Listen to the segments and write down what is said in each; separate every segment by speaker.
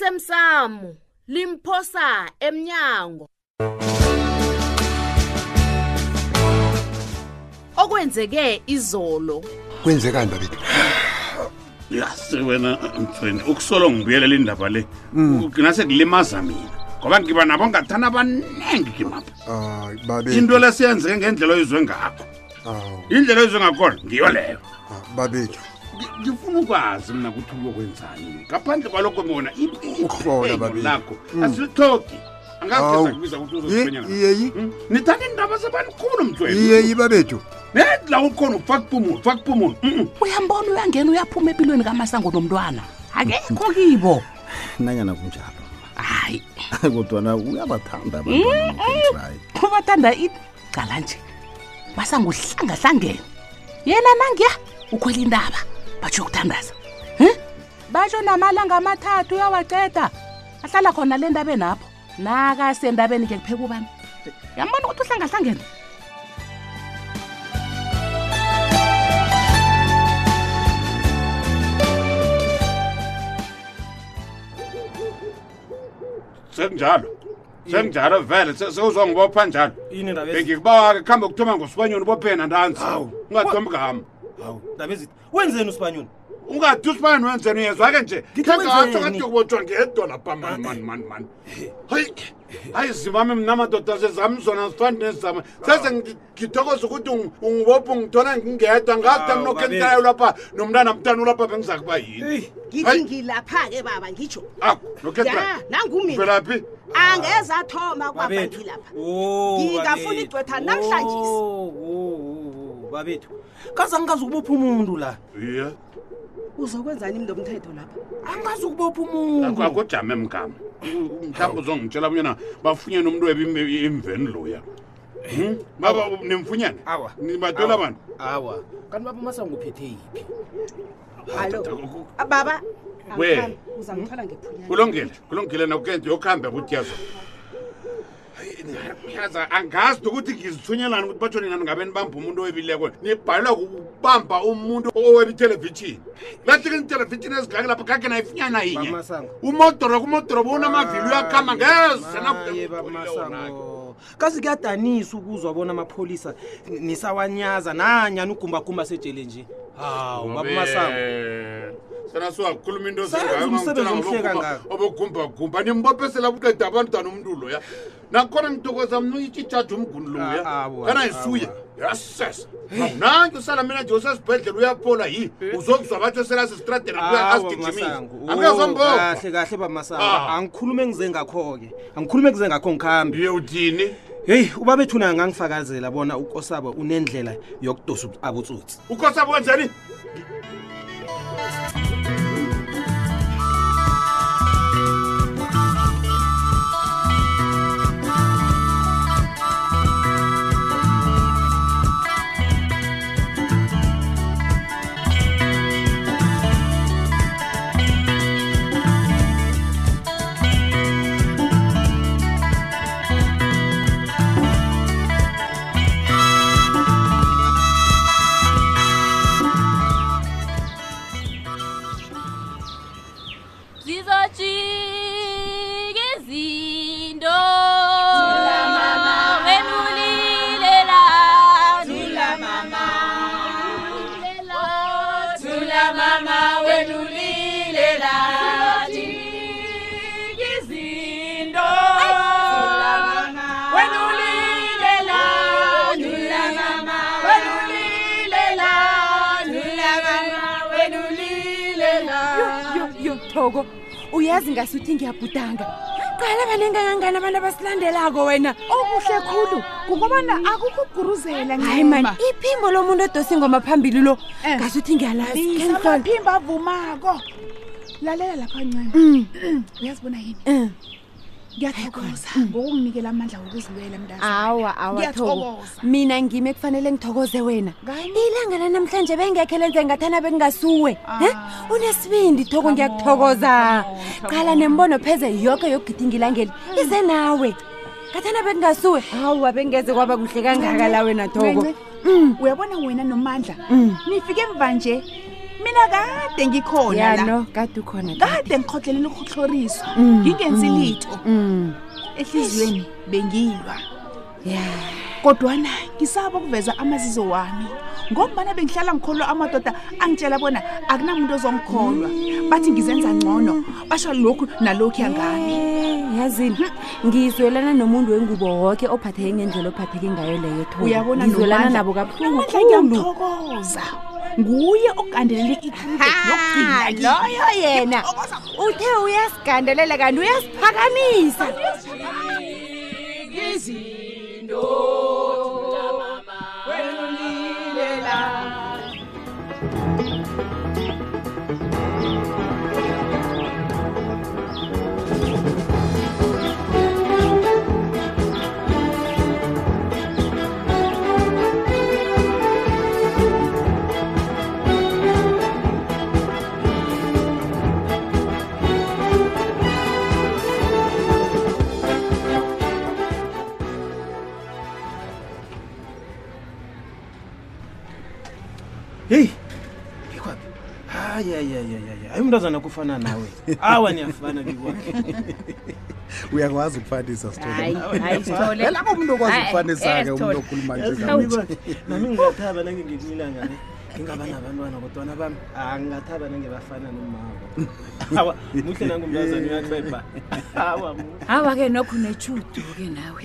Speaker 1: osemsamo limphosa emnyango okwenzeke izolo
Speaker 2: kwenzekani babethu
Speaker 3: yase wena mfweni ukusolo ngibuyelela indaba le ugcina sekulimaza mina ngoba ngiba nabo ngathana abaningi kimapha
Speaker 2: hayi babethu
Speaker 3: into lesiyenzeke ngendlela oyizwe ngakho
Speaker 2: Hawu,
Speaker 3: indlela oyizwe ngakhona ngiyo leyo
Speaker 2: ha, babethu
Speaker 3: Ngi- ngifuna ukwazi mina ukuthi uyokwenzani ngaphandle kwalokho mina
Speaker 2: Ukuhlola, babe.
Speaker 3: lakho
Speaker 4: Mm.
Speaker 3: asilithogi
Speaker 2: Hawu.
Speaker 3: angazkesakubiza ukuthi uzosiphenya
Speaker 2: Yi- iyeyi?
Speaker 3: nithanda indaba zabanikhulu mfweni
Speaker 2: iyeyi babethu
Speaker 3: nedla ukhona ufaka ipumulo ufaka ipumulo Mm-mm.
Speaker 5: uyambona uyangena uyaphuma empilweni kamasango nomntwana akekho kibo
Speaker 4: nanyana kunjalo
Speaker 5: hayi
Speaker 4: kodwana uyabathanda
Speaker 3: Mm,
Speaker 4: abantwanahayi
Speaker 5: ubathanda ini cala nje masangohlangahlangene yena nangiya ukhwela indaba batsho yokuthandaza um batsho namalanga amathathu uyawaceda ahlala khona le ndabeni apho nakasendabeni ke kupheka ubani yambona ukuthi uhlangahlangene
Speaker 3: sekunjalo sekunjalo vele se- sewuzwa ngibopha njalo
Speaker 6: yini ndaba ezi-
Speaker 3: bengikubawa-ke kuhambe kuthoma ngosibanyoni ubopheni nandanzi
Speaker 6: Hawu.
Speaker 3: ungathombi ngami
Speaker 6: hawu ndaba ezithi wenzeni usibanyoni
Speaker 3: ungathi usibanyoni wenzeni uyezwa-ke nje
Speaker 6: Ngithi wenzeni?
Speaker 3: kengaathokatokubotshwa ngedwa lapha mani mani mani mani hayi hayi zimami mna madoda sezami zona zifani nezama seze ngi- ngithokoza ukuthi ungi- ungibopha ungithola ngingedwa ngathi
Speaker 6: Hawu,
Speaker 3: amnokho
Speaker 6: babe.
Speaker 3: engilayo lapha nomntana mtana ulapha bengiza kuba yini
Speaker 6: eyi
Speaker 7: ngithi
Speaker 3: Hayi.
Speaker 7: ngilapha-ke baba ngitsho ya nangumina
Speaker 3: nangumvelaphi
Speaker 7: angezathoma kwaba
Speaker 6: babethu
Speaker 7: ngilapha
Speaker 6: Oh,
Speaker 7: Ngingafuna
Speaker 6: babethu.
Speaker 7: igcwetha namhlanjesi.
Speaker 6: Oh, oh, oh, oh, babethu kaze angikazi ukubopha umuntu la
Speaker 3: ye
Speaker 7: uzokwenzani mntu omthetho lapha
Speaker 6: angazi ukubopha umuntu
Speaker 3: akujame mgama mhlawumbe uzongitshela bunyana bafunyene umntu weba emveni loya Hmm? baba nimfunyane
Speaker 6: Awa.
Speaker 3: nibatwela bantu
Speaker 6: awa kanti baba masango uphethe yiphi
Speaker 7: allo
Speaker 3: taku-
Speaker 7: Ah, baba
Speaker 3: We.
Speaker 7: angikhambi, uzangithola ngephunyana
Speaker 3: kulungile kulungile nokukenje yokuhambe ukuthi yazo yaza angazi nokuthi ngizithunyelani ukuthi batsho nina ningabe nibamba umuntu owebileko nibhalelwa kubamba umuntu oweba ithelevishini lahlike nitelevishini ezigake lapha kake nayifunyana yinye
Speaker 6: Bamasango.
Speaker 3: umodoro kumodoro bunamavili uyakhamba ngeze
Speaker 6: Hayi, baba masango kazi kuyadanisa ukuzwa bona amapholisa n- nisawanyaza nanyani ugumbagumba sejele nje hawu baba masango
Speaker 3: sana Eh, siwakhuluma into
Speaker 6: Sayenza
Speaker 3: ezengayo,
Speaker 6: umsebenzi
Speaker 3: ungangitshela
Speaker 6: omhle
Speaker 3: ngobogumba-
Speaker 6: kangaka.
Speaker 3: obogumbagumba nimbophesela buqeda abantwana umntulo ya nakhona ngithokoza mna itshijaji umguni lo ya
Speaker 6: Ah, awa,
Speaker 3: kana yisuya yasesa nanke usala mina nje usesibhedlela uyaphola yi uzokuzwa batsho selasesitradeni
Speaker 6: Ah, masango Oh,
Speaker 3: asigijimisa
Speaker 6: kahle kahle baba masango
Speaker 3: Ah.
Speaker 6: angikhulume ngize ngakho-ke angikhulume ngize ngakho ngikhambe
Speaker 3: ye uthini
Speaker 6: heyi ubabethu naye angangifakazela bona ukosabo unendlela yokudosa abotsotsi
Speaker 3: ukhosabi kwenzeni
Speaker 8: zizojika izinto wenulile la thula mama thula mama wenulile la zizojika izinto thula mama wenulile la thula mama wenulile la thula mama wenulile la
Speaker 9: yokuthoko uyazi ngasuthi ngiyabhudanga qala banenge kangani abantu abasilandelako wena okuhle khulu kungobana akukuguruzela hayi mani iphimbo lomuntu odose ingoma phambili lo ngasuthi ngiyalaziamaphimbo avumako
Speaker 10: lalela lapha ncane uyazibona yini ngiyathokoza ngokunginikela amandla okuzilwela mntazi
Speaker 9: awa awathoko
Speaker 10: Ngiyathokoza.
Speaker 9: mina ngimi ekufanele ngithokoze wena
Speaker 5: Ah,
Speaker 9: ilanga lanamhlanje bengekhe lenze ngathana bengingasuwe
Speaker 11: Ah.
Speaker 9: he unesibindi thoko ngiyakuthokoza
Speaker 11: Oh,
Speaker 9: qala nembono pheze yoke yokugidingilangeli
Speaker 11: Hmm.
Speaker 9: ize nawe ngathana bengingasuwe hawa bengeze kwaba kuhle
Speaker 11: Mm.
Speaker 9: kangaka la wena thoko Mm.
Speaker 10: uyabona wena nomandla nifike emva nje
Speaker 11: mina kade ngikhona
Speaker 9: ya
Speaker 11: la
Speaker 9: no kade ukhona
Speaker 11: kade ngikhotleleni ukuhlohloriswa
Speaker 9: Mm,
Speaker 11: ngingenzi
Speaker 9: mm,
Speaker 11: litho ehliziyweni bengilwa ya kodwana ngisaba ukuveza amazizo wami ngombana bengihlala ngikholwa amadoda angitshela bona akunamuntu ozongikholwa bathi ngizenza ngcono basho lokhu nalokhu yangami
Speaker 9: yazini ngizwelana nomuntu wengubo woke ophatheke ngendlela ophatheke ngayo leyo
Speaker 11: uyabona
Speaker 9: ngizwelana
Speaker 11: noMandla.
Speaker 9: nabo kabuhlungu
Speaker 11: Nomandla ngiyamthokoza nguye ogandelele
Speaker 9: Ha, Ah, loyo yena uthe uyasigandelela kanti uyasiphakamisa
Speaker 6: heyi ikwaphi hayi hayi hayi hayi hayi umntazana kufana nawe awa niyafana bikwaphi
Speaker 4: uyakwazi ukufanisa Sithole.
Speaker 6: Hayi, hayi, Sithole.
Speaker 4: Phela akho umuntu okwazi
Speaker 6: Hayi,
Speaker 4: ukufanisa-ke
Speaker 6: eh,
Speaker 4: umuntu
Speaker 6: Sithole.
Speaker 4: okhuluma nje
Speaker 6: Yazi
Speaker 4: kanje.
Speaker 6: nami ba- nami ngingathaba nangengelinye ilanga ne ngingaba nabantwana kodwana bami ah ngingathaba nangebafana nomabo awa muhle nangumntazana uyaxeba awa mu-
Speaker 12: awa-ke nokho netshudu-ke nawe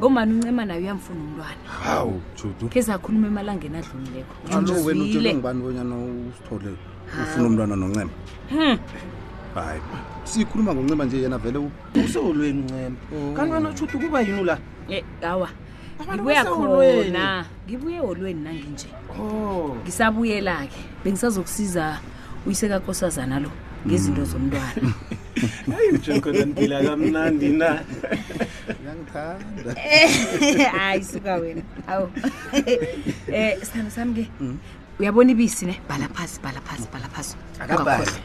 Speaker 12: ngomani uncema naye uyamfuna umntwana
Speaker 4: hawu judu
Speaker 12: khe zakhuluma emalangeni adlulileko
Speaker 4: alo wena utshele
Speaker 12: Ngizwile.
Speaker 4: ngibani bonyana usithole ufuna umntwana noncema
Speaker 12: Hmm.
Speaker 4: hayi sikhuluma ngoncema nje yena vele
Speaker 6: usolweni uncema kanti wena tshuti kuba yini ula
Speaker 12: Eh, awa
Speaker 6: Abantu
Speaker 12: ngibuya
Speaker 6: baseholweni.
Speaker 12: khona ngibuye eholweni nanginje
Speaker 6: Oh.
Speaker 12: ngisabuyela-ke bengisazokusiza uyisekakosazana lo ngezinto zomntwana
Speaker 6: hayi ujekhona niphila kamnandi na
Speaker 12: hayi suka wena awu um sithando sami-ke uyabona ibisi ne bhala phasi bhala phasi bhala phasi
Speaker 8: Akabhali.
Speaker 12: Ungakhohlwa.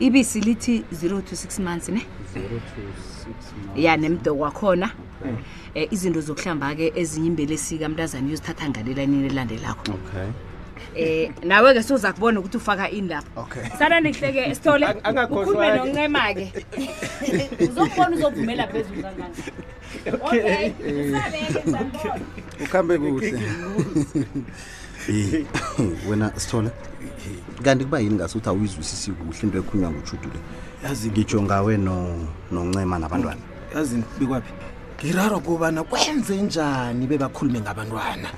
Speaker 12: ibisi lithi 0 to 6 months ne ya nemdoko wakhona um izinto zokuhlamba-ke ezinye imbelesika mntazane uyozithatha ngalelanini elandelakho
Speaker 4: okay
Speaker 12: um nawe-ke soza kubona ukuthi ufaka ini lapho
Speaker 4: okay
Speaker 12: sana nihleke sithole
Speaker 8: angakhohlwa-ke.
Speaker 12: ukhulume noncema-ke uzokubona uzovumela phezulu kangangani Okay.
Speaker 4: ukhambe kuhle Eh, wena sithole kanti kuba yini ngase uthi awuyizwisisi kuhle into ekhunywa ngutshudu le
Speaker 6: Yazi-
Speaker 4: ngitsho ngawe no- noncema nabantwana
Speaker 6: yazi bikwaphi ngirarwa kobana kwenze njani bebakhulume ngabantwana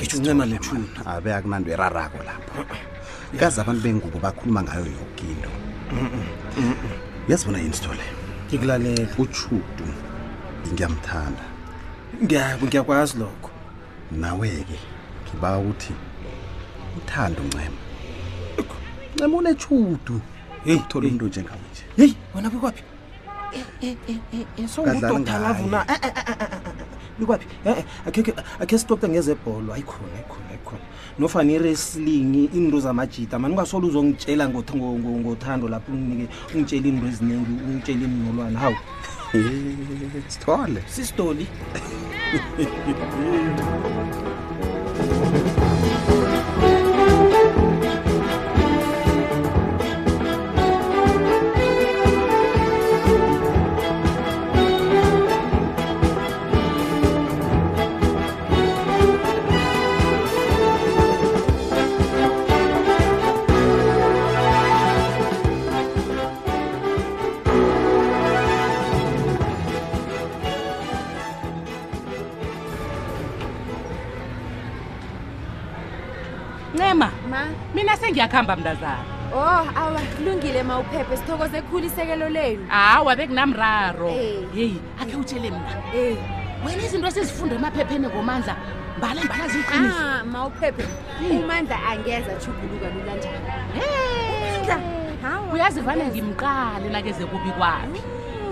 Speaker 6: ngitsho uncema netshuti
Speaker 4: abe akunanto erarako lapho kazi abantu bengubo bakhuluma ngayo yoke into uyazibona yini sithole
Speaker 6: ngikulalela
Speaker 4: utshudu ngiyamthanda
Speaker 6: Ngiya- ngiyakwazi lokho
Speaker 4: nawe-ke ngiba ukuthi uthando ncema ncema unetshudu thola into njengawe nje
Speaker 6: heyi wena Eh, bikwaphi eh,
Speaker 4: Kadlala
Speaker 6: sowungudotalavu na Eh, eh, eh, eh, eh, eh, bikwaphi e-e akhe sitokta ngezebholo ayikhona ayikhona ayikhona nofana i-wrestling iinto zamajida mani ungasole uzongitshela ngoth- ngo- ngo- ngothando lapho unginike ungitshele iinto eziningi ungitshele imnolwana hawu
Speaker 4: sithole
Speaker 6: sistoli
Speaker 5: ncema mina sengiyakuhamba mntazana
Speaker 9: o oh, awa kulungile ma uphephe sithokoze ekhulu isekelo lenu
Speaker 5: hawa bekunamraro yeyi akhe utshele mna
Speaker 9: Eh,
Speaker 5: wena izinto esizifunda emaphepheni ngomandla mbala mbala ziqiniso
Speaker 9: Ah, ma uphephe umandla angeza ajuguluka lula njani umandla
Speaker 5: uyazi vane ngimqale nakeze kubi kwakhe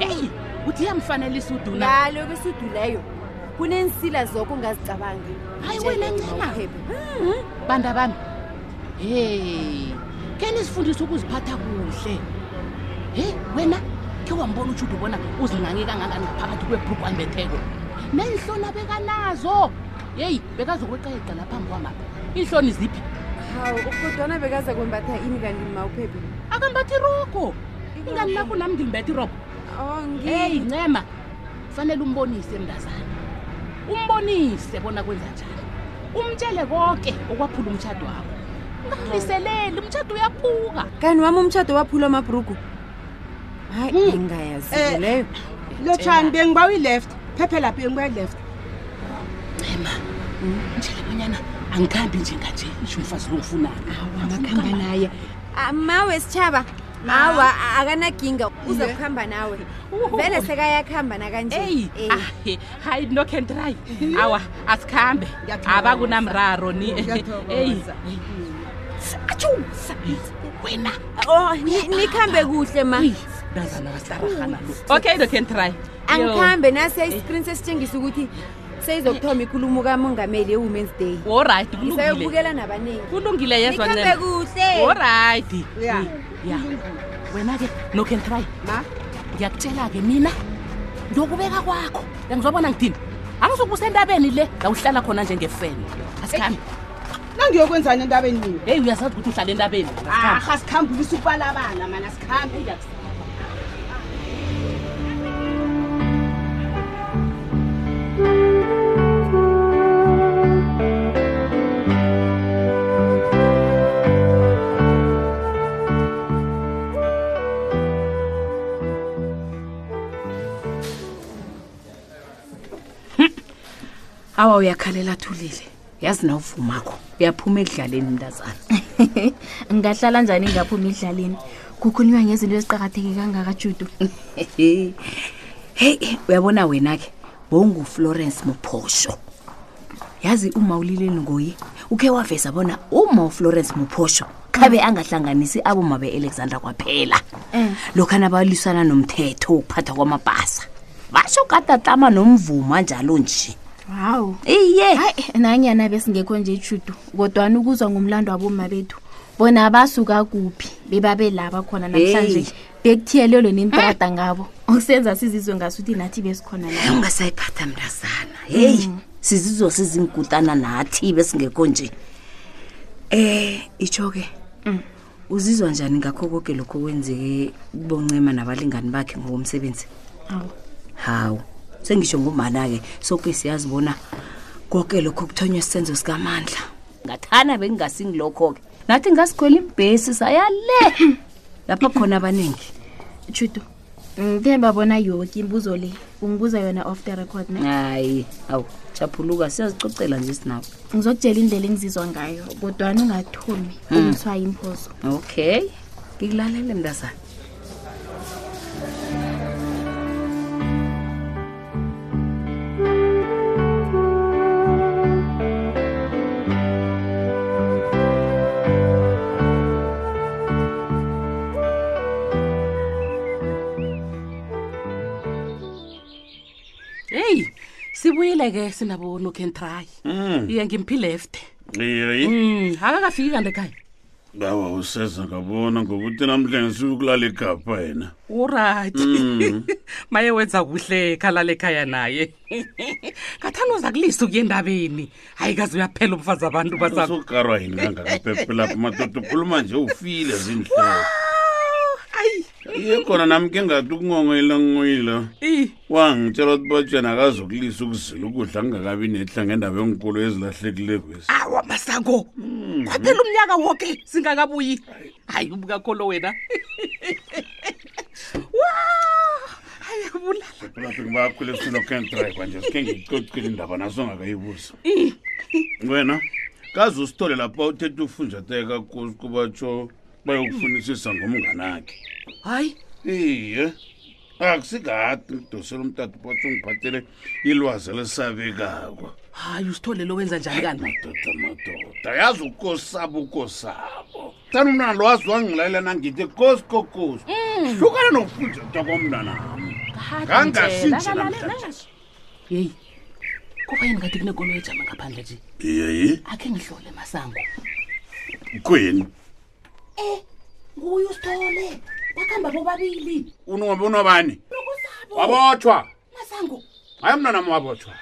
Speaker 5: eyi uthi iyamfanelisa uduna
Speaker 9: ngaloku isudu leyo kuneensila zoko ungazicabangi hayi wena ncemaphephe
Speaker 5: banda bami hey ke nisifundise ukuziphatha kuhle hey wena ke wambona utshuda ubona uzinange kangangani ngaphakathi kwebhruku ambetheko nenhloni abekanazo yeyi bekazokweqayeqa laphambi kwamapha iinhloni ziphi
Speaker 9: hawu kodwana bekaza kwembatha ini kanti mawuphephe
Speaker 5: akambathi irogo ingani lakho nami ngilimbetha irogo
Speaker 12: Oh,
Speaker 5: eyi ncema kufanele umbonise mntazana umbonise bona kwenza njani umtshele konke okwaphula umtshado wakho ungaliseleli umtshado uyaphuka
Speaker 9: kanti wami umtshato waphula amabhrugu hayi
Speaker 13: Eh,
Speaker 9: ngingayaziko leyo
Speaker 13: lotshani bengibawa i-left phephe lapho bengibawa i-left
Speaker 5: ntshele bonyana angikhambi njenganje isho umfazi longifunani
Speaker 9: angakuhamba naye ah, mawe sitshaba awa akanaginga uza
Speaker 5: Iye.
Speaker 9: kuhamba nawe vele sekayakuhamba nakanje
Speaker 5: eyi hayi no can try awa asikhambe abakunamraro ni eyi atshu wena
Speaker 9: Oh, ni- nikhambe kuhle ma
Speaker 5: mntazana wastarahana lo okay no can try
Speaker 9: angikhambe nasiya isikrini sesitshengisa ukuthi seyizokuthoma ikulumo kamongameli ye-women's day
Speaker 5: olright kulungile
Speaker 9: sayobukela nabaningi
Speaker 5: kulungile yezwa
Speaker 9: Nikhambe kuhle.
Speaker 5: olright
Speaker 9: Ya.
Speaker 5: ya wena-ke no can try ma ngiyakutshela-ke mina ngiyokubeka kwakho yangizwa bona ngithini angizokusendabeni le la uhlala khona njengefene asikhambe
Speaker 13: nangiyokwenzani entabeni mina
Speaker 5: heyi uyazazi ukuthi uhlala entabeni
Speaker 13: aha sikhambe ubisa ukubalabala mana sikhambe
Speaker 12: awa uyakhalela athulile yazi na uvumakho uyaphuma ekudlaleni mntazana
Speaker 14: ngingahlala njani ngaphumi edlaleni kukhulunywa ngezinto eziqakatheke kangaka judu
Speaker 12: heyi uyabona wena-ke bowunguflorence mophosho yazi umawulileni ngoye ukhe waveza bona uma uflorence mophosho khabe angahlanganisi aboma be-alexandra kwaphela lokhana balwisana nomthetho wokuphathwa kwamabhasa basho katatama nomvuma njalo nje
Speaker 14: hawu iye hayi nanyana besingekho nje judu kodwana ukuzwa ngumlando waboma bethu bona basuka kuphi bebabe laba khona namhlanje
Speaker 12: Hey.
Speaker 14: bekuthiyelelwe nentrada ngabo okusenza sizizwe ngasuthi nathi besikhona la
Speaker 12: ungasayiphatha mntazana heyi sizizwa sizingutana nathi besingekho nje eh itsho-ke uzizwa njani ngakho konke lokhu kwenzeke kuboncema nabalingani bakhe ngokomsebenzi
Speaker 14: Hawu.
Speaker 12: hawu sengisho ngomana-ke soke siyazibona konke lokho kuthonywe sisenzo sikamandla ngathana bekungasingilokho-ke nathi ngasikhwela imbhesi saya le lapha khona abaningi
Speaker 14: judu ngithemba bona yoke imbuzo le ungibuza yona off the record ne
Speaker 12: hayi awu japhuluka siyazicocela nje sinawo
Speaker 14: ngizokutshela indlela engizizwa ngayo kodwana ungathomi
Speaker 12: Mm.
Speaker 14: ungithwaye impozo
Speaker 12: okay ngikulalele mntazana
Speaker 5: heyi sibuyile-ke sinabo no can try
Speaker 3: Mm.
Speaker 5: iye ngimphilefte
Speaker 3: Yeyi,
Speaker 5: um akakafiki kanti ekhaya
Speaker 3: bawa useza ngabona ngoba uthi namhlanje siyokulala igapha yena.
Speaker 5: olright
Speaker 3: Mm.
Speaker 5: maye wenza kuhle khalala ekhaya naye ngathani uza kulisa ukuya endabeni hayi kazi uyaphela umfazi abantu bazam
Speaker 3: Usokarwa yini kangakaphephelapha madoda ukhuluma nje ufile zinhloko. Ayi. Ikhona nami ke ngathi ukungongoyila ngoyila.
Speaker 5: i
Speaker 3: Wangitshela ukuthi bajana akazokulisa ukuzila ukudla kungakabi nehla ngendaba yenkolo ezilahlekileyo kwesi.
Speaker 5: awa masango kwaphela umnyaka woke singakabuyi hayi ubukakho lo wena
Speaker 3: Lapho ngibakhule sino can drive nje sike ngicocile indaba naso ngakayibuzo. wena kaze usithole lapha uthethe ufunjateka kuzi kubatsho bayokufunisisa ngomnganakhe
Speaker 5: hayi
Speaker 3: iye akusikade ngidosele umtata ubatsho ngiphathele ilwazi elisabekako
Speaker 5: hayi usithole lo wenza njani kani
Speaker 3: madoda madoda yazi ukosabo ukosabo tani umntana lo wazi wangilalela nangithi kosi kokosi hlukana nokufunjata komntanami kangasinje namhlanje
Speaker 5: yeyi kuba yini ngathi kunekolo ejama ngaphandle nje
Speaker 3: yeyi
Speaker 5: akhe ngihlole masango
Speaker 3: kweni
Speaker 5: nguye usithole bakuhamba bobabili
Speaker 15: unobani
Speaker 5: nokusabo
Speaker 15: wabotshwa
Speaker 5: masango
Speaker 15: hayi mnanam wabotshwa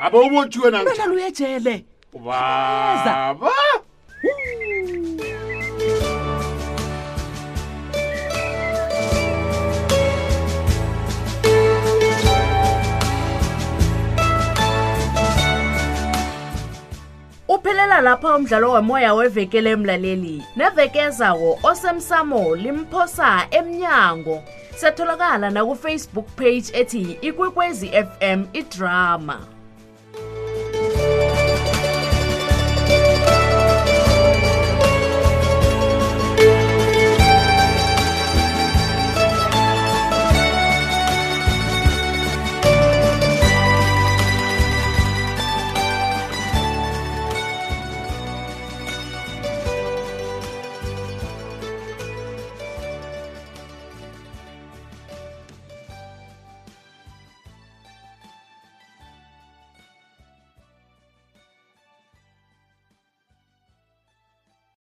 Speaker 15: abe ubothiwe
Speaker 5: mntwana luyejele
Speaker 15: nababa
Speaker 12: Uphela lapha umdlalo womoya wevekele emlaleli. Nevekezawo osemsamo limphosa emnyango. Setholakala na ku Facebook page ethi Ikwekwezi FM iDrama.